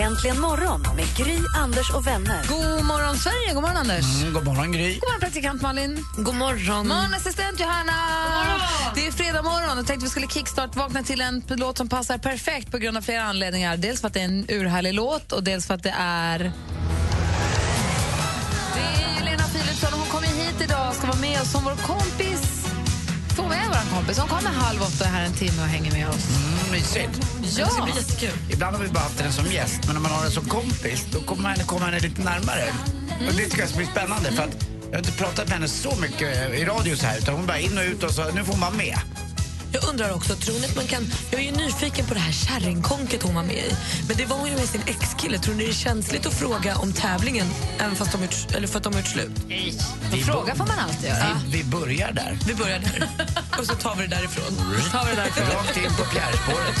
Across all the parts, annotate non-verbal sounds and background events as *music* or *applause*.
Äntligen morgon med Gry, Anders och vänner. God morgon, Sverige! God morgon, Anders! Mm, God morgon, Gry. God morgon, praktikant Malin! Mm. God morgon! morgon, assistent Johanna! Det är fredag morgon och tänkte vi skulle kickstart-vakna till en p- låt som passar perfekt på grund av flera anledningar. Dels för att det är en urhärlig låt och dels för att det är... Det är ju Lena Philipsson och hon kommer hit idag och ska vara med oss som vår kompis. Får vara med vår kompis. Hon kommer halv åtta här en timme och hänger med oss. Mm, mysigt. Ja! Ibland har vi bara haft henne som gäst, men när man har henne som kompis då kommer man henne, kommer henne lite närmare. Och det tycker jag ska bli spännande. För att jag har inte pratat med henne så mycket eh, i radio så här, utan hon bara in och ut och så, nu får hon vara med. Jag undrar också, tror ni att man kan... Jag är ju nyfiken på det här kärringkonket hon var med i. Men det var hon ju med sin ex-kille. Tror ni det är känsligt att fråga om tävlingen även fast de har gjort- eller för att de har gjort slut? Vi, Fråga bo- får man alltid göra. vi, vi börjar där. Vi *laughs* börjar där. Och så tar vi det därifrån. Ta det där. Rakt in på fjärrspåret.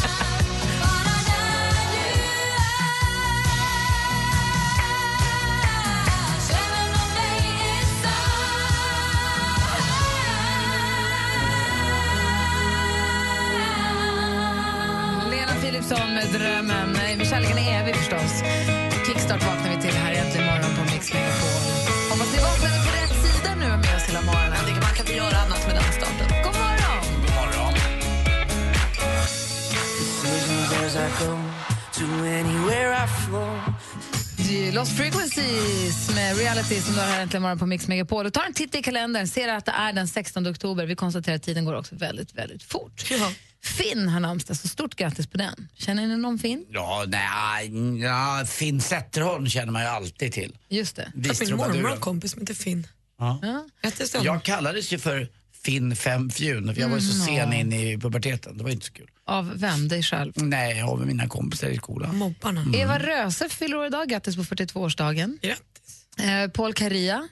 Lena Philipsson med Drömmen. Nej, men Kärleken är evig förstås. Kickstart vaknar vi till här äntligen morgon på Mix Megapol. Hoppas ni vaknade på rätt sida nu och är med oss hela morgonen. Man kan inte göra annat med den starten. God morgon! God morgon. Det är Lost Frequencies med Reality som du har här äntligen morgon på Mix Megapol. Och tar en titt i kalendern, ser att det är den 16 oktober. Vi konstaterar att tiden går också väldigt, väldigt fort. Ja. Finn har namnsdag, så stort grattis på den. Känner ni någon Finn? Ja, nej, ja, Finn Zetterholm känner man ju alltid till. Just det. Att min Vistrubaduren. mormor har en kompis som heter Finn. Ja. Grattis till honom. Jag kallades ju för Finn Fem Fjun, för jag var ju så sen in i puberteten. Det var ju inte så kul. Av vem? Dig själv? Nej, jag har med mina kompisar i skolan. Mobbarna. Mm. Eva Röse fyller år idag, grattis på 42-årsdagen. Grattis. Eh, Paul Carria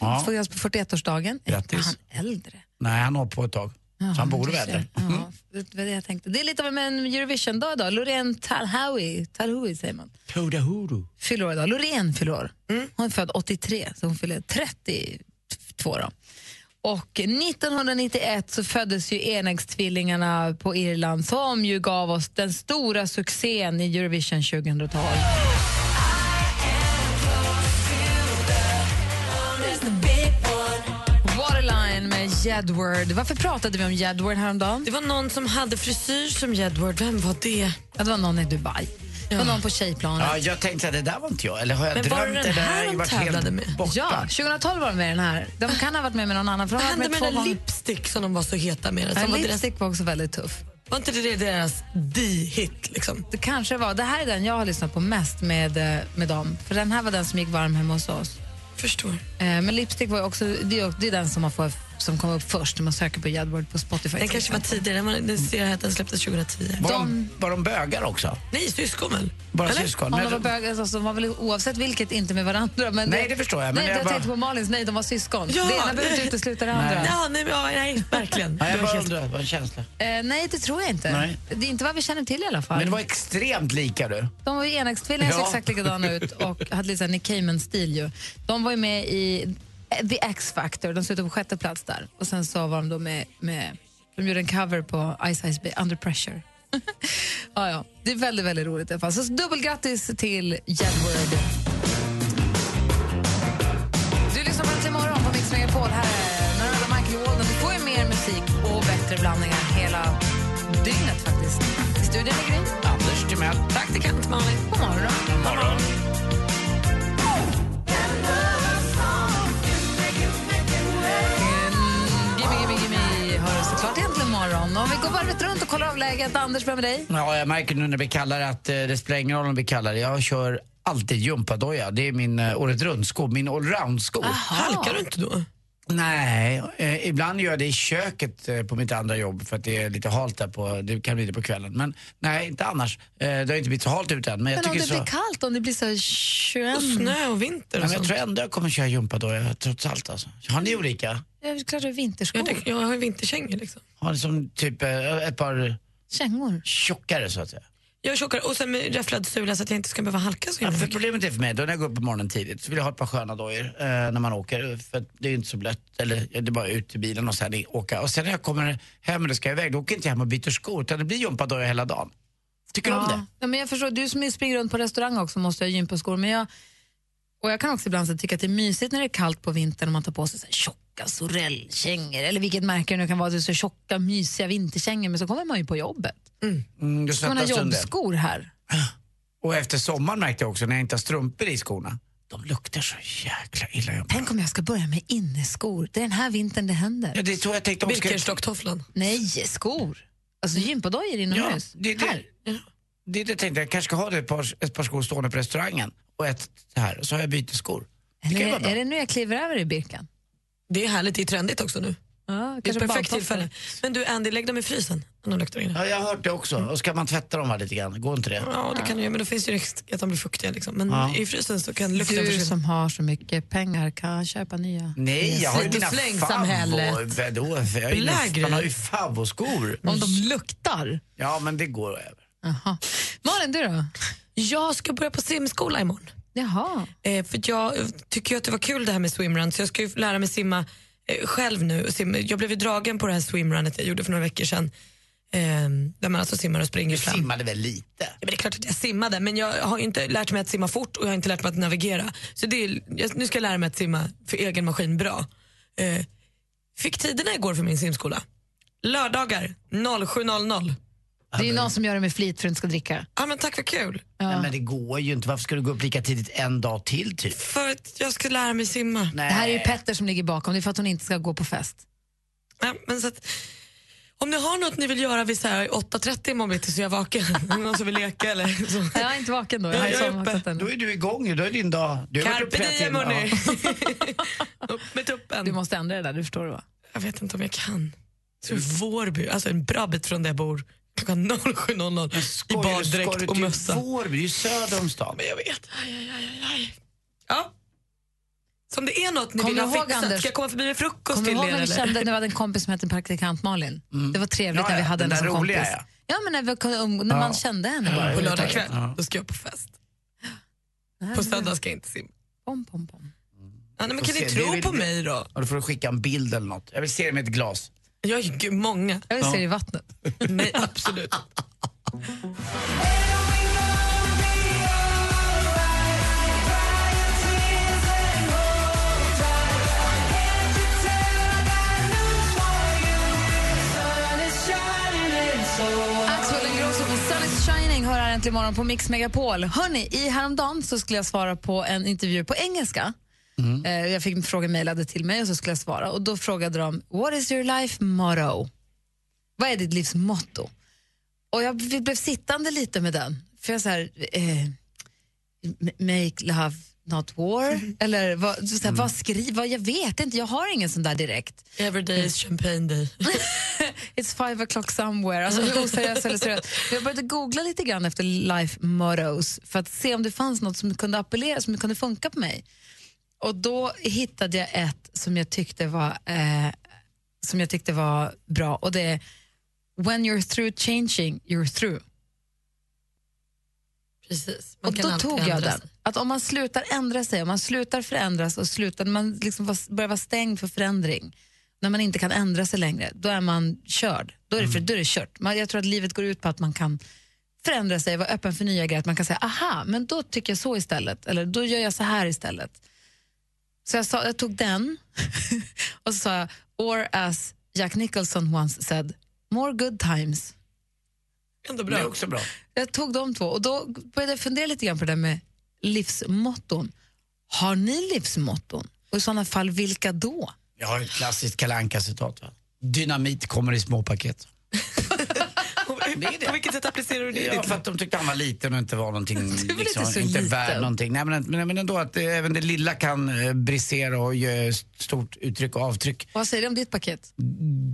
Ja. föddes på 41-årsdagen. Är inte Grattis. han äldre? Nej, han har på ett tag. så han borde vara äldre. Ja, det var det jag tänkte. Det är lite av en Eurovision-dag idag. Loreen Talhawi, Talhawi säger man, Todahuru. fyller år idag. Loreen fyller år. Mm. Hon är född 83, så hon fyller 32 då. Och 1991 så föddes ju enäggstvillingarna på Irland som ju gav oss den stora succén i Eurovision 2012. Waterline med Jedward. Varför pratade vi om Jedward häromdagen? Det var någon som hade frisyr som Jedward. Vem var det? Ja, det var någon i Dubai. Det var någon på tjejplanet. Ja, jag tänkte att det där var inte jag. Eller har jag Men drömt var det det den där? här Jag de varit tävlade helt med? Borta. Ja, 2012 var de med i den här. De kan ha varit med med någon annan. För de Vad har hände varit med med två den där gånger. lipstick som de var så heta med? Ja, Som var, deras, Lipstick var också väldigt tuff. var inte det deras di-hit? Liksom? Det kanske var, det här är den jag har lyssnat på mest med, eh, med dem. För den här var den som gick varm hemma hos oss. Förstår. Eh, Men Lipstick var ju också, det är, det är den som, man får, som kom upp först när man söker på Jedward på Spotify. Den kanske var tidigare. Den var- Den ser här att den släpptes 2010. Var, de... var de bögar också? Nej, syskon väl? Bara Eller? syskon? Om Nej, de var de... bögar, alltså, de var väl oavsett vilket inte med varandra. Men Nej, det förstår jag, men nej, jag jag bara- tänkte på Malins, nej de var syskon. Ja. Det ena behöver inte utesluta det andra. Ja, nej, men- ja, nej, verkligen. Ja, jag Du har bara helt- undrar, det var en känsla. Eh, nej, det tror jag inte. Nej. Det är inte vad vi känner till i alla fall. Men det var extremt lika du. De var ju enäggstvillingar, såg Ja. exakt likadana ut och hade lite sån Nick Cayman-stil ju. De var ju med i eh, The X-Factor, de slutade på sjätte plats där. Och sen så var de då med, med de gjorde en cover på Ice Ice Bay, Under Pressure. *laughs* ja, ja. Det är väldigt, väldigt roligt i alla fall. Så dubbelgrattis till Jedward. Du lyssnar på Äntligen morgon på Mix Megapol. Här är Narada Michael Walden. Du får ju mer musik och bättre blandningar hela dygnet faktiskt. I studion är Gry. Anders Timell. Praktikant Malin. God morgon. Morgon. Gimme, gimme, gimme. Hör såklart äntligen morgon. Om vi går varvet runt och kollar av läget. Anders, börja med dig. Ja, jag märker nu när vi kallar att eh, det spelar ingen roll om vi kallar det. Jag kör alltid gympadoja. Det är min eh, året runt-sko, min allround-sko. Halkar du inte då? Nej, eh, ibland gör jag det i köket eh, på mitt andra jobb för att det är lite halt där på, det kan bli det på kvällen. Men nej, inte annars. Eh, det har inte blivit så halt ute än. Men jag Men om tycker det så... blir kallt, om det blir så här 21... Och snö och Nej, vinter och men jag sånt. tror ändå jag kommer köra jumpa då, jag, trots allt alltså. Har ni olika? Det är klart det är Jag, vinterskor. tänker- jag har ju vinterkängor liksom. Har ni som typ eh, ett par Kängor. tjockare så att säga? Jag är tjockare och sen med räfflad sula så att jag inte ska behöva halka så Ja, jävla för mycket. problemet är för mig, då när jag går upp på morgonen tidigt så vill jag ha ett par sköna dojor eh, när man åker. För att det är ju inte så blött. Eller ja, det är bara ut till bilen och sen i- åka. Och sen när jag kommer hem eller ska iväg, då åker jag inte hem och byter skor. Utan det blir gympadojor hela dagen. Tycker du om det? Ja, men jag förstår, du som ju springer runt på restaurang också måste ha gympaskor. Men jag, och jag kan också ibland så tycka att det är mysigt när det är kallt på vintern och man tar på sig så här tjocka sorellkängor eller vilket märke det nu kan vara, det är så tjocka mysiga vinterkängor men så kommer man ju på jobbet. Mm, du Så man har svettas under. jobbskor här. Och efter sommaren märkte jag också när jag inte har strumpor i skorna. De luktar så jäkla illa. Jag bara, Tänk om jag ska börja med inneskor, det är den här vintern det händer. Ja, det tror jag tänkte också. Birkenstocktofflan. Nej, skor! Alltså gympadajer Ja, inomhus. det, är det, Här. det, är det jag tänkte jag. kanske ska ha det ett, par, ett par skor stående på restaurangen och ett här. Så har jag bytesskor. Det kan ju vara Eller bra. är det nu jag kliver över i Birkan? Det är härligt, det är trendigt också nu. Ja, Det är ett kanske perfekt badtofflor. tillfälle. Men du Andy, lägg dem i frysen. om De luktar illa. Ja, jag har hört det också. Och ska man tvätta dem här lite grann? Går inte det? Ja, det kan du göra, men då finns det ju risk att de blir fuktiga. Liksom. Men Ja. i frysen så kan lukten Du försvinna. som har så mycket pengar kan köpa nya. Nej, jag har ju Slit och mina släng-samhället. favvo... Vadå? för jag är ju- Blä grej. Man har ju favvoskor. Om de Mm. luktar. Ja, men det går över. Aha. Malin, du då? Jag ska börja på simskola imorgon. Jaha. Eh, för jag eh, tycker ju att det var kul det här med swimrun så jag ska ju lära mig simma eh, själv nu. Och simma. Jag blev ju dragen på det här swimrunet jag gjorde för några veckor sedan. Eh, där man alltså simmar och springer Du fram. simmade väl lite? Ja, Men det är klart att jag simmade, men jag har ju inte lärt mig att simma fort och jag har inte lärt mig att navigera. Så det är, jag, nu ska jag lära mig att simma för egen maskin bra. Eh, fick tiderna igår för min simskola. Lördagar 07.00. Det är ju någon som gör det med flit för att inte ska dricka. Ja, men tack, vad kul. Nej, men det går ju inte. Varför ska du gå upp lika tidigt en dag till typ? För att jag ska lära mig simma. Nej. Det här är ju Petter som ligger bakom, det är för att hon inte ska gå på fest. Ja, men så att, om ni har något ni vill göra vid så här 8.30 imorgon bitti så är jag vaken. *laughs* Någon som vill leka eller så. Jag är inte vaken då. Ja, jag är somnat uppe. den. Då är du igång ju. Då är din dag... Du har varit uppe Carpe flera diem timmar. hörni. Ja. typ *laughs* Upp med tuppen. Du måste ändra det där, du förstår det va? Jag vet inte om jag kan. Jag tror Vårby, alltså en bra bit från där jag bor, klockan *laughs* 07.00 i Skojar du? Ska baddräkt du typ och till mössa. Vårby? Det är ju söder om stan. Men jag vet. Aj, aj, aj, aj, aj. Ja. Så om det är något ni Kommer vill du ha ihåg, fixat, Anders? ska jag komma förbi med frukost Kommer du till ihåg er? när vi Eller? kände att vi hade en kompis som hette praktikant Malin? Det var trevligt Ja, när vi ja, hade den henne där som roliga, kompis. ja. Ja, men när, vi kunde umg- när man Ja. kände henne bara. På lördag överhuvudtaget. kväll, då ska jag på fest. Nej, På men- söndag ska jag inte simma. Pom, pom, pom. Ja, nej, men Får kan ni se, det tro vill på vi- mig då? Ja, Då får du skicka en bild eller något. Jag vill se det med ett glas. Jag är ju många. Jag vill se det i vattnet. *laughs* Nej, absolut. Axel Ingrosso med Sun is shining hör här äntligen morgon på Mix Megapol. Hörrni, i häromdagen så skulle jag svara på en intervju på engelska. Eh, Jag fick en fråga mejlade till mig och så skulle jag svara. Och Då frågade de What is your life motto? Vad är ditt livs motto? Och jag b- blev sittande lite med den. För jag så här, eh, m- make love not war. Eller vad, så här, vad skriver, vad, jag vet inte, jag har ingen sån där direkt. Every day is champagne day. It's five o'clock somewhere. Alltså, hur oseriös eller seriös? Men Jag började googla lite grann efter life mottos för att se om det fanns något som kunde appellera, som kunde funka på mig. Och då hittade jag ett som jag tyckte var, eh, som jag tyckte var bra och det är When you're through changing, you're through. Precis. Man Och kan då alltid tog ändra jag sig. den. Att om man slutar ändra sig, om man slutar förändras och slutar, när man liksom var- börjar vara stängd för förändring, när man inte kan ändra sig längre, då är man körd. Då är det, för, Mm. då är det kört. Man, jag tror att livet går ut på att man kan förändra sig, vara öppen för nya grejer, att man kan säga aha, men då tycker jag så istället, eller då gör jag så här istället. Så jag, sa, jag tog den *laughs* och så sa jag, or as Jack Nicholson once said, more good times. Ändå Det är bra. också bra. Jag tog de två och då började jag fundera lite grann på det där med livsmotton. Har ni livsmotton? Och i sådana fall, vilka då? Jag *laughs* har ett klassiskt Kalle Anka citat va? Dynamit kommer i små paket. Det är det. På vilket sätt applicerar du det i Ja, ditt för att de tyckte han var liten och inte var *laughs* någonting, inte liksom, så inte liten. värd någonting. Nej, men, men, men ändå att eh, även det lilla kan eh, brisera och ge stort uttryck och avtryck. Vad säger du om ditt paket?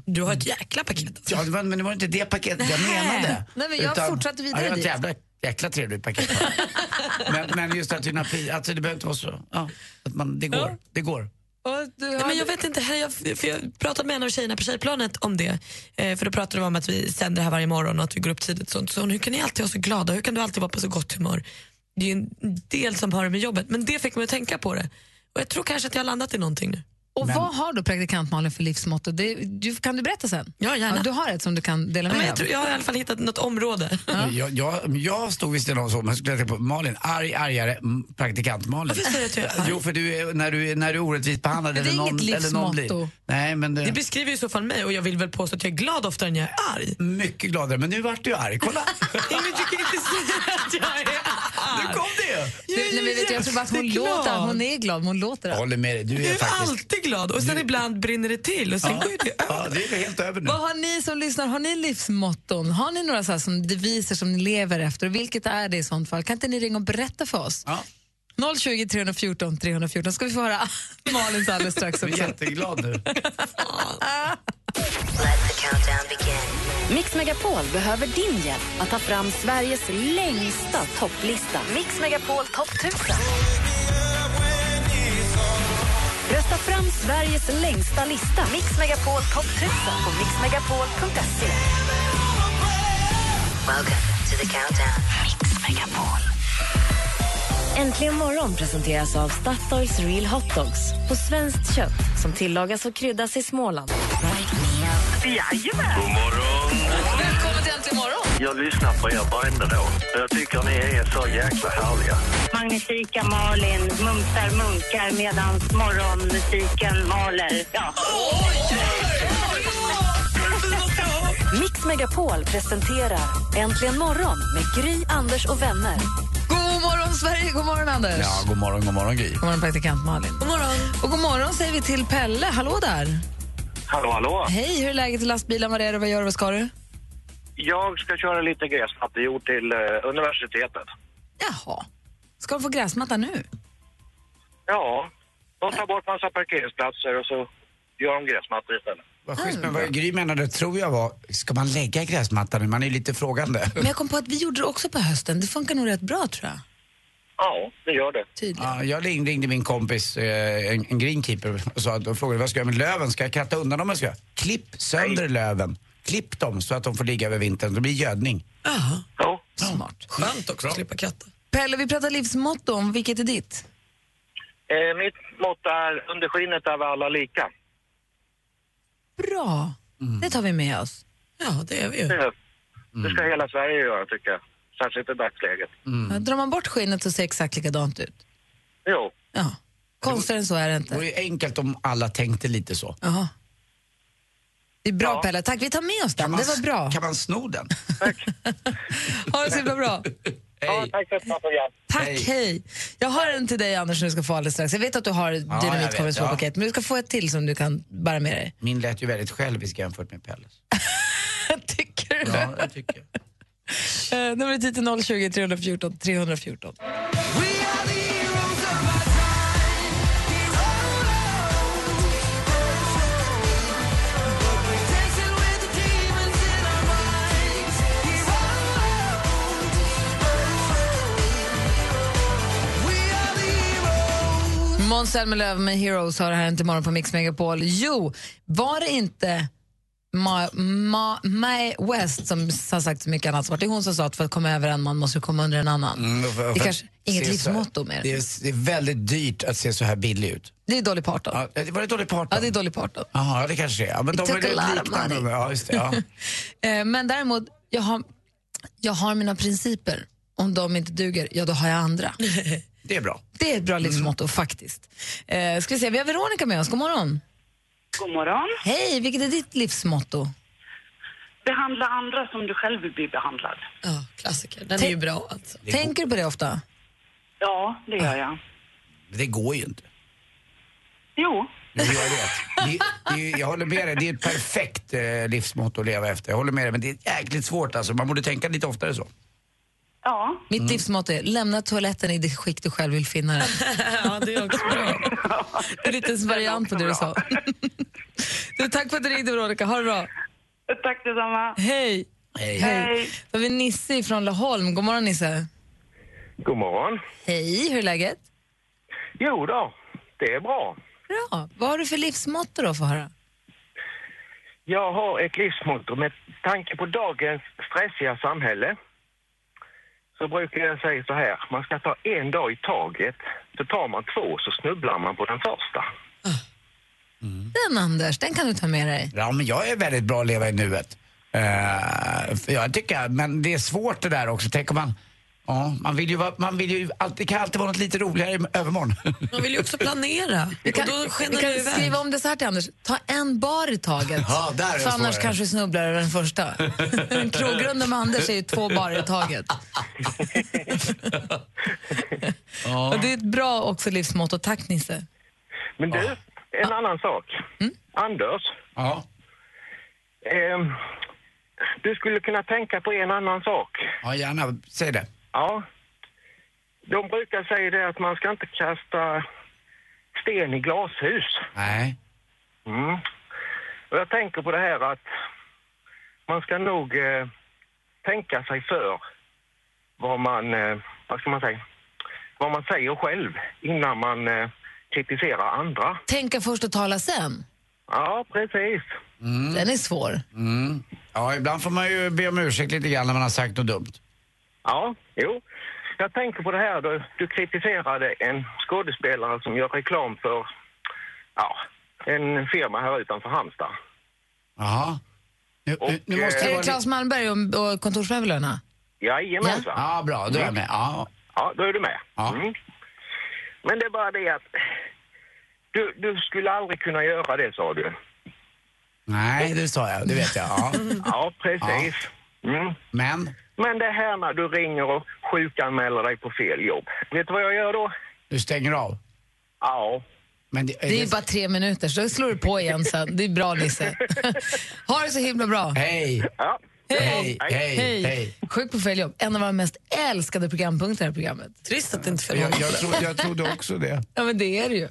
Du har ett jäkla paket. Ja, det var, men det var inte det paketet jag menade. Nej, men jag fortsatte vidare ja, det var ett dit. jävla, jäkla trevligt paket. *laughs* men, men just att dynamit, alltså, det behöver inte vara så. Ja, att man, det går. Ja. Det går. Och du Nej, har... men jag vet inte, heller, jag, för jag pratade med en av tjejerna på tjejplanet om det. Eh, för då pratade de om att vi sänder det här varje morgon och att vi går upp tidigt. och Sånt. Så hon, hur kan ni alltid vara så glada? Hur kan du alltid vara på så gott humör? Det är ju en del som har det med jobbet, men det fick mig att tänka på det. Och jag tror kanske att jag har landat i någonting nu. Och vad har då praktikant Malin för livsmotto? Det, du, kan du berätta sen? Ja, gärna. du har ett som du kan dela Ja, med dig men jag, av. tror, jag har i alla fall hittat något område. Jag, jag, jag stod vid sidan om så, men skulle jag tänka på Malin, arg, argare, m- praktikant Malin. Varför säger du att jag är arg? Jo, för du, är- när, du, är- när du är orättvist behandlad Det är eller någon, inget eller någon blir. livsmotto. Nej, men det, Det beskriver ju i så fall mig och jag vill väl påstå att jag är glad oftare än jag är arg. mycket gladare. Men nu vart du *laughs* arg, kolla! Ingen tycker inte säga att jag är nu arg. kom det ju! Du, nej, men vet du, jag tror bara att hon jätteglad. låter, hon är glad, men hon låter Jag allt. håller med dig, du Jag är är faktiskt... alltid glad och sen ibland brinner det till och sen går ju det över. Ja, det är helt över nu. Vad har ni som lyssnar, har ni livsmotton? Har ni några så här som deviser som ni lever efter? Och vilket är det i sånt fall? Kan inte ni ringa och berätta för oss? Ja, 020 314 314 ska vi få höra *laughs* Malins alldeles strax jag är också. jätteglad nu. Mix Megapol behöver din hjälp att ta fram Sveriges längsta topplista. Mix Megapol topp 1000. Rösta fram Sveriges längsta lista. Mix Megapol topp 1000 på mixmegapol.se. Welcome to the countdown. Mix Megapol. Äntligen morgon presenteras av Statoils Real Hot Dogs på svenskt kött som tillagas och kryddas i Småland. Välkommen till Äntligen morgon! Jag lyssnar på er varenda dag. Jag tycker ni är så jäkla härliga. Magnifika Malin mumsar munkar medan morgonmusiken maler. Ja. Mix Megapol presenterar Äntligen morgon med Gry, Anders och vänner. God morgon Sverige, god morgon Anders! Ja, god morgon, god morgon Gry. God morgon praktikant Malin. God morgon. Och god morgon säger vi till Pelle, hallå där! Hallå, hallå. Hej, hur är läget i lastbilen, vad är det, vad gör du, vad ska du? Jag ska köra lite gräsmattejord till eh, universitetet. Jaha, ska du få gräsmatta nu? Ja, de tar bort massa parkeringsplatser och så gör de gräsmattor istället. Vad schysst, Mm. men vad Gry menade tror jag var, ska man lägga gräsmattan nu? Man är ju lite frågande. Men jag kom på att vi gjorde det också på hösten, det funkar nog rätt bra tror jag. Ja, det gör det. Tydligen. Ja, jag ring- ringde min kompis, eh, en, en greenkeeper, och sa att, och frågade vad ska jag göra med löven? Ska jag kratta undan dem eller ska jag? Klipp sönder löven. Klipp dem så att de får ligga över vintern. Det blir gödning. Jaha, Ja. Smart. skönt också att slippa kratta. Pelle, vi pratar livsmotto om, vilket är ditt? Eh, mitt motto är under skinnet är vi alla lika. Bra, Mm. det tar vi med oss. Ja, det är vi ju. Det, det ska hela Sverige göra tycker jag. Särskilt i dagsläget. Mm. Ja, Drar man bort skinnet så ser det exakt likadant ut. Jo, Ja. Konstigare än så är det Det inte. vore ju enkelt om alla tänkte lite så. Jaha. Det är bra Ja. Pelle, tack. Vi tar med oss den. Det var bra. Kan man sno den? Ha det så himla bra. ja, Hej. tack för ett bra program. Tack, hej. Hej. Jag har en till dig Anders som du ska få alldeles strax. Jag vet att du har jag dynamit vet, kommer ja. paket, men du ska få ett till som du kan bära med dig. Min lät ju väldigt självisk jämfört med Pelles. Tycker du? Ja, det tycker jag. Eh, numret hit är 020 314 314. Måns Zelmerlöw med Heroes har det här inte imorgon på Mix Megapol. Jo, var det inte Ma, Ma, Mae West som har sagt så mycket annat smart. Det är hon som sa att för att komma över en man måste du komma under en annan. Mm. Mm, och för- och det för är kanske att inget se livsmotto så- mer. Det är, det är väldigt dyrt att se så här billig ut. Det är Dolly Parton. Ja, Ja, det var det dålig parton? det är Dolly Parton. Jaha, det kanske det är. Ja, men It de took är a lot lite of money. liknande. Ja, just det. Ja. Eh, Men däremot, jag har, jag har mina principer. Om de inte duger, ja då har jag andra. Det är bra. Det är ett bra livsmotto faktiskt. Eh, ska vi se, vi har Veronica med oss. God morgon. God morgon. Hej, vilket är ditt livsmotto? Behandla andra som du själv vill bli behandlad. Ja, klassiker. Den är ju bra *laughs* alltså. Tänker du på det ofta? Ja, det gör jag. Men det går ju inte. Jo, Jo, jag vet. Det, det, jag håller med dig, det är ett perfekt eh, livsmotto att leva efter. Jag håller med dig, men det är jäkligt svårt alltså. Man borde tänka lite oftare så. Ja, Mitt Mm. livsmotto är lämna toaletten i det skick du själv vill finna den. *laughs* Ja, det är också bra. En liten variant på det du *laughs* sa. du, tack för att du ringde, Veronica. Ha det bra. tack detsamma. Hej! Hej. Hej. Då har vi Nisse från Laholm. God morgon, Nisse. God morgon. Hej, hur är läget? Jo då, det är bra. Bra. Vad har du för livsmotto då, för höra? Jag har ett livsmotto. Med tanke på dagens stressiga samhälle så brukar jag säga så här. Man ska ta en dag i taget. Så tar man två så snubblar man på den första. Den, Anders, den kan du ta med dig. Ja, men jag är väldigt bra att leva i nuet. Eh, för jag tycker, men det är svårt det där också. Tänker man, ja, man vill ju, vara- man vill ju alltid, det kan alltid vara något lite roligare i övermorgon. *laughs* Man vill ju också planera. Vi kan, och då vi skenar kan det iväg. skriva om det så här till Anders. Ta en bar i taget. *laughs* Ja, där är det för annars svårare. kanske du snubblar över den *laughs* första. Krogrunden med Anders är ju två barer i taget. Och det är ett bra också livsmotto. Tack, Nisse. Men du, en annan sak. Anders, Ja, ehm, du skulle kunna tänka på en annan sak. ja gärna, säg det. Ja. De brukar säga det att man ska inte kasta sten i glashus. Nej. Mm. Och jag tänker på det här att man ska nog eh, tänka sig för vad man, eh, vad ska man säga, vad man säger själv innan man eh, kritiserar andra. Tänka först och tala sen. Ja, precis. Den är svår. Mm. Ja, ibland får man ju be om ursäkt lite grann när man har sagt något dumt. Ja, jo. Jag tänker på det här då, du kritiserade en skådespelare som gör reklam för, ja, en firma här utanför Halmstad. Jaha. Nu, nu, nu Och, måste Är det det vara... Claes Malmberg och, och kontorsmöblerna? Jajamensan. Ja, bra, då är jag med. Ja. Ja, då är du med. Ja. Mm. Men det är bara det att du, du skulle aldrig kunna göra det, sa du. Nej, det sa jag, det vet jag. Ja. Ja, precis. Mm. Men, Men det här när du ringer och sjukanmäler dig på fel jobb. Vet du vad jag gör då? du stänger av. Ja. Men det, Det är ju bara tre minuter, så slår du på igen sen. Det är bra, Nisse. *laughs* ha det så himla bra. Hej, ja. hej, hej, hej. Sjuk på fel jobb. En av våra mest älskade programpunkter i det här programmet. Trist att det inte följer Jag, jag, tro, jag trodde också det. Ja, men det *laughs* är det ju.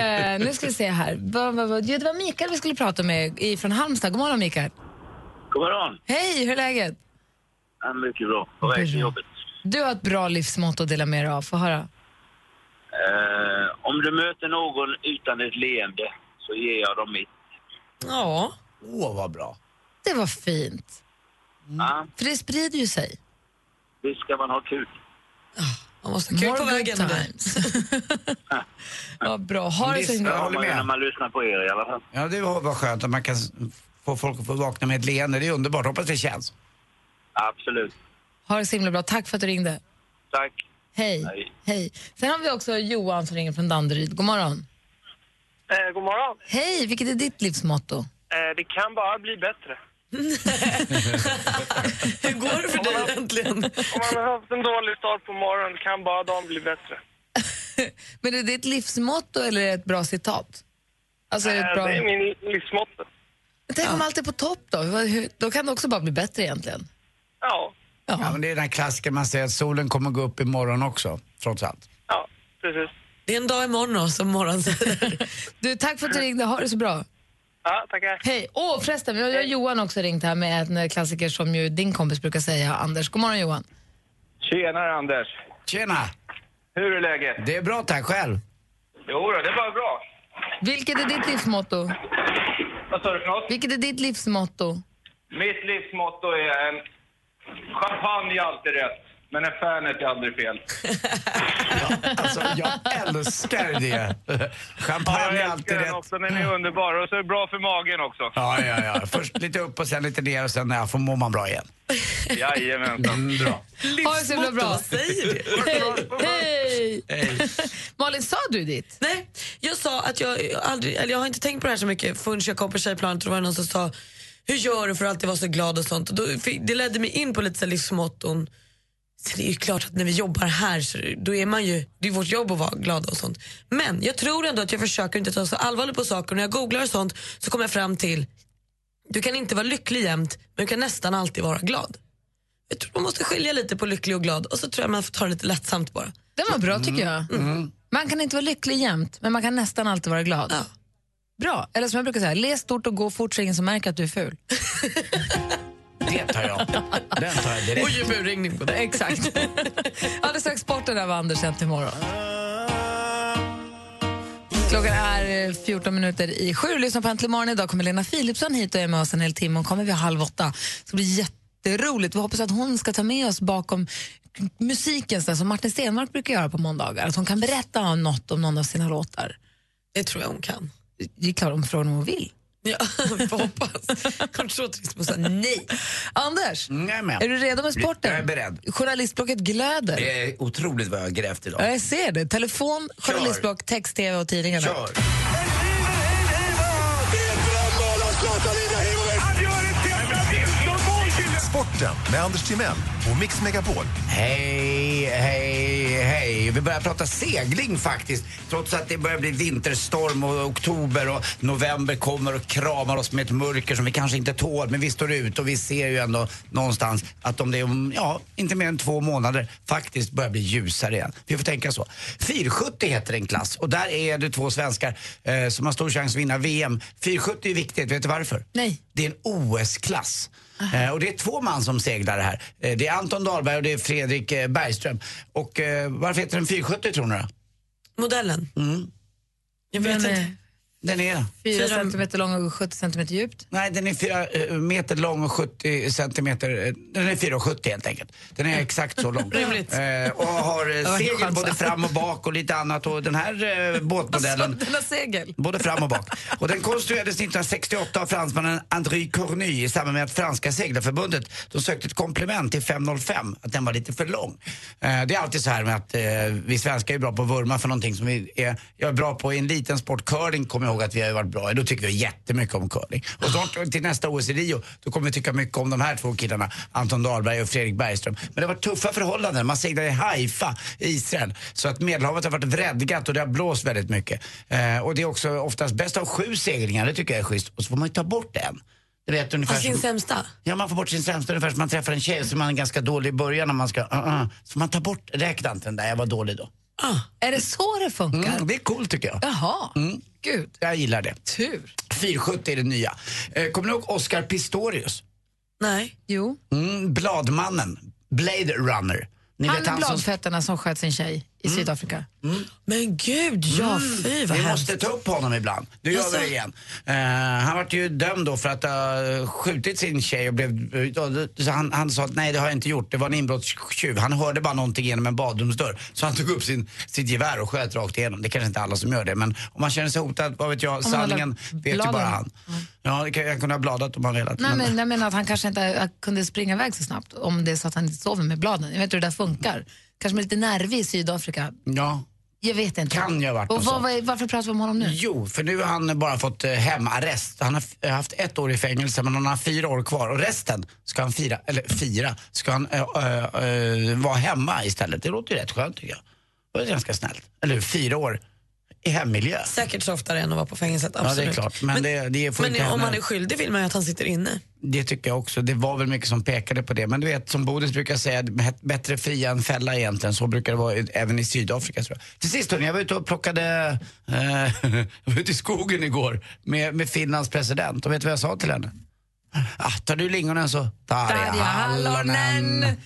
Eh, nu ska vi se här. Va, va, va. Ja, det var Mikael vi skulle prata med i- från Halmstad. God morgon, Mikael. God morgon. Hej, hur är läget? Ja, mycket bra. På väg till jobbet. Du har ett bra livsmotto att dela med dig av. Få höra. Eh, om du möter någon utan ett leende så ger jag dem mitt. Ja. Åh, vad bra. Det var fint. För det sprider ju sig. Visst ska man ha kul. Man måste ha kul på More vägen. good *laughs* times. *laughs* ja, bra. Ha det så Visst, jag himla håller med. man lyssnar på er i alla fall. Ja, det var var skönt att man kan s- få folk att få vakna med ett leende. Det är underbart. Hoppas det känns. Absolut. Ha det så himla bra. Tack för att du ringde. Tack. Hej. Hej. Hej. Sen har vi också Johan som ringer från Danderyd. God morgon. Eh, god morgon. Hej, vilket är ditt livsmotto? Eh, det kan bara bli bättre. Hur går det för dig egentligen? Om man har haft en dålig start på morgonen kan bara dagen bli bättre. Men är det ett livsmotto eller är det ett bra citat? Alltså, är det, ett Eh, bra... det är min livsmotto. Men Tänk om allt är på topp då? Vad- hur- Då kan det också bara bli bättre egentligen. Ja, Ja, men det är den här klassiken man säger att solen kommer gå upp imorgon också, trots allt. ja, precis. Det är en dag imorgon då, som morgon säger. Du, tack för att du ringde. Ha det så bra. Ja, tackar. Hej. Åh, förresten, vi har jag och Johan också ringt här med en klassiker som ju din kompis brukar säga, Anders. God morgon Johan. Tjenare Anders. Tjena! Hur är läget? Det är bra, tack. Själv? Jo då, det är bara bra. Vilket är ditt livsmotto? Vad sa du för något? Vilket är ditt livsmotto? Mitt livsmotto är en champagne är alltid rätt, men en Fernet är aldrig fel. Alltså, jag älskar det. Champagne är alltid den rätt. också, den är underbar. Och så är det bra för magen också. Ja, ja, ja. Först lite upp och sen lite ner och sen ja, får mår man bra igen. Jajamensan. Mm, bra. Ha det så himla bra. Säger det. Hej! *laughs* Malin, sa du ditt? Nej, jag sa att jag aldrig, eller jag har inte tänkt på det här så mycket förrän jag kom på tjejplanet och det var någon som sa hur gör du för att alltid vara så glad och sånt. Och då, fick- det ledde mig in på lite så här livsmotton. Så det är ju klart att när vi jobbar här så då är man ju, det är vårt jobb att vara glada och sånt. Men jag tror ändå att jag försöker inte ta så allvarligt på saker. När jag googlar och sånt så kommer jag fram till, du kan inte vara lycklig jämt men du kan nästan alltid vara glad. Jag tror man måste skilja lite på lycklig och glad och så tror jag man får ta det lite lättsamt bara. Den var bra tycker jag. Man kan inte vara lycklig jämt, men man kan nästan alltid vara glad. Ja. Bra. Eller som jag brukar säga, le stort och gå fort så ingen som märker att du är ful. Det tar jag. Den tar jag direkt. Och ge burringning på det. Exakt. *laughs* Alldeles strax sporten av Anders sen till imorgon. Klockan är eh, 14 minuter i sju. Lyssna på Äntligen morgon. Idag kommer Lena Philipsson hit och är med oss en hel timme. Hon kommer vid halv åtta. Det ska bli jätteroligt. Vi hoppas att hon ska ta med oss bakom k- musiken så där som Martin Stenmark brukar göra på måndagar. Att hon kan berätta om något om någon av sina låtar. Det tror jag hon kan. Det är klart om frågan om hon vill. Ja, *laughs* vi får hoppas. Kommer så trist på säga nej. Anders, Nej, men. är du redo med sporten? Jag är beredd. Journalistblocket glöder. Det är otroligt vad jag har grävt idag. Ja, jag ser det. Telefon, journalistblock, text, tv och tidningarna. Kör! Sporten med Anders Timell och Mix Megapol. Hej, hej, hej. Vi börjar prata segling faktiskt. Trots att det börjar bli vinterstorm och oktober och november kommer och kramar oss med ett mörker som vi kanske inte tål. Men vi står ut och vi ser ju ändå någonstans att om det är om, ja, inte mer än två månader faktiskt börjar bli ljusare igen. Vi får tänka så. 470 heter en klass och där är det två svenskar eh, som har stor chans att vinna VM. 470 är viktigt, vet du varför? Nej. Det är en OS-klass. Eh, och det är två man som seglar här. Eh, det är Anton Dahlberg och det är Fredrik eh, Bergström. Och eh, varför heter den 470 tror ni då? Modellen? Jag vet Den inte. är Den är... eh, fyra Fyra- centimeter lång och 70 centimeter djupt. Nej, den är 4 meter lång och 70 centimeter... eh, Den är 4,70 helt enkelt. Den är exakt *laughs* så lång. Rimligt. Eh, och har eh, var en segel chans. både fram och bak och lite annat. Och *laughs* den här eh, båtmodellen... Sådana segel. Både fram och bak. Och den konstruerades 1968 av fransmannen André Cornu i samband med att franska seglarförbundet de sökte ett komplement till 505, att den var lite för lång. Eh, det är alltid så här med att eh, vi svenskar är bra på att vurma för någonting som vi är, jag är bra på. I en liten sport, curling, kommer jag ihåg att vi har varit bra i. Då tycker vi jättemycket om curling. Och snart till nästa OS i Rio, då kommer vi tycka mycket om de här två killarna, Anton Dahlberg och Fredrik Bergström. Men det var tuffa förhållanden. Man seglar i Haifa, i Israel. Så att Medelhavet har varit vredgat och det har blåst väldigt mycket. Eh, och det är också oftast bäst av sju seglingar, det tycker jag är schysst. Och så får man ju ta bort en. Du vet ungefär Av sin som, sämsta? Ja, man får bort sin sämsta ungefär som man träffar en tjej som man är ganska dålig i början när man ska, uh -uh. Så man tar bort, räkna inte den där, jag var dålig då. Är det så det funkar? Ah. Mm, det är coolt tycker jag. Jaha. Gud, Jag gillar det. tur. 470 är det nya. Eh, kommer ni ihåg Oscar Pistorius? Nej. Jo. Mm, Bladmannen, Blade Runner. Ni Han är som- Mm. bladfettarna som sköt sin tjej i Sydafrika. Men gud, ja fy vad Vi hemskt. måste ta upp honom ibland. Nu gör vi det igen. Eh, han vart ju dömd då för att ha skjutit sin tjej och blev... eh, Så han, han sa att nej det har jag inte gjort, det var en inbrottstjuv. Han hörde bara någonting genom en badrumsdörr. Så han tog upp sin, sitt gevär och sköt rakt igenom. Det kanske inte alla som gör det men om man känner sig hotad, vad vet jag, man har sanningen lagt vet ju bara bladen. han. Ja, det kan, jag kunde ha bladat om han velat. Nej, men- men jag menar att han kanske inte eh, kunde springa iväg så snabbt om det är så att han inte sover med bladen. Jag vet inte hur det där funkar. Kanske man är lite nervig i Sydafrika. Ja. Jag vet inte. Kan ju ha varit Och något vad, sånt. vad, är- varför pratar vi om honom nu? Jo, för nu har han bara fått eh, hemarrest. Han har f- eh, haft ett år i fängelse men han har fyra år kvar och resten ska han fira, eller fira, ska han eh, eh, eh, vara hemma istället. Det låter ju rätt skönt tycker jag. Det var ganska snällt. Eller hur? fyra år i hemmiljö. Säkert softare än att vara på fängelset, Ja, absolut. det är klart. Men, det, det får Men inte om hända. han är skyldig vill man ju att han sitter inne. Det tycker jag också. Det var väl mycket som pekade på det. Men du vet, som Bodis brukar säga, bet- bättre fria än fälla egentligen. Så brukar det vara ut- även i Sydafrika tror jag. Till sist hörni, jag var ute och plockade, eh, *laughs* jag var ute i skogen igår med, med Finlands president. Och vet du vad jag sa till henne? Ah, tar du lingonen så tar jag Tarja hallonen. Hallonen.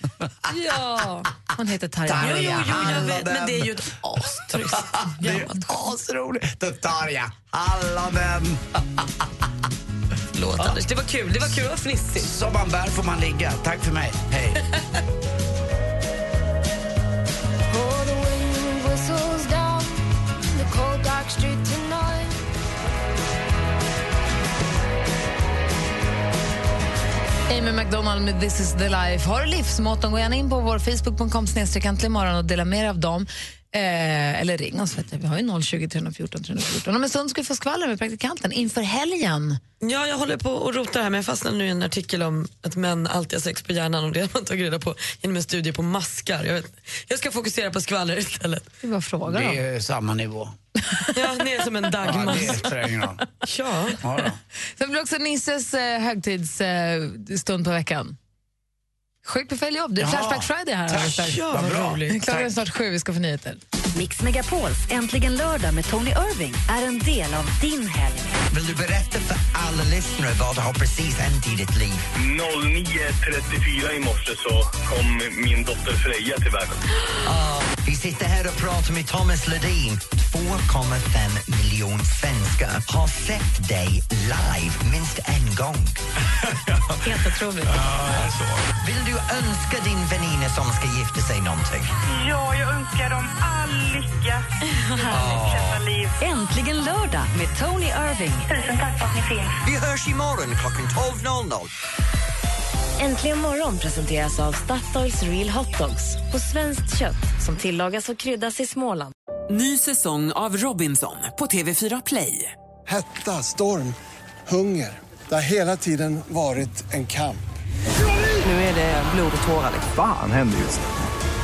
Ja. Hon heter Tarja Tarja. Jo, jo, jo, jag vet. Hallå, Men det är den. ju ett astrist. Det är asroligt. Då tar jag hallonen. Låt, Anders. Det var kul, det var kul. Det var fnissigt. Som man bär får man ligga. Tack för mig. Hej. Amy McDonald med This is the life. Har du livsmått? Gå gärna in på vår facebook.com snedstreck äntligen morgon och dela med er av dem. Eh, eller ring oss, vet jag. vi har ju 020 314 314. Om en stund ska vi få skvaller med praktikanten inför helgen. Ja, jag håller på och rotar här men jag fastnade nu i en artikel om att män alltid har sex på hjärnan och det har man tagit reda på genom en studie på maskar. Jag, vet, jag ska fokusera på skvaller istället. Det är bara att fråga Det dem. är ju samma nivå. *laughs* Ja, ni är som en Ja, dagmask. det spelar ingen roll. Ja. Ja, då. Sen blir det också Nisses eh, högtidsstund eh, stund på veckan. Sjuk på fel jobb. Det är Ja. Flashback Friday här. alldeles strax. Ja, Vad vad bra. roligt. Klockan är snart sju, vi ska få nyheter. Mix Megapols Äntligen lördag med Tony Irving är en del av din helg. Vill du berätta för alla lyssnare vad det har precis hänt i ditt liv? 09.34 i morse så kom min dotter Freja till världen. Vi sitter här och pratar med Thomas Ledin. 2,5 miljoner svenskar har sett dig live minst en gång. Helt otroligt. Vill du önska din väninna som ska gifta sig någonting? Ja, jag önskar dem all lycka. Fortsätta liv. Äntligen lördag med Tony Irving. Vi hörs imorgon klockan 12.00. Äntligen morgon presenteras av Statoils Real Hot Dogs på svenskt kött som tillagas och kryddas i Småland. Ny säsong av Robinson på TV4 Play. Hetta, storm, hunger. Det har hela tiden varit en kamp. Nu är det blod och tårar. Fan händer just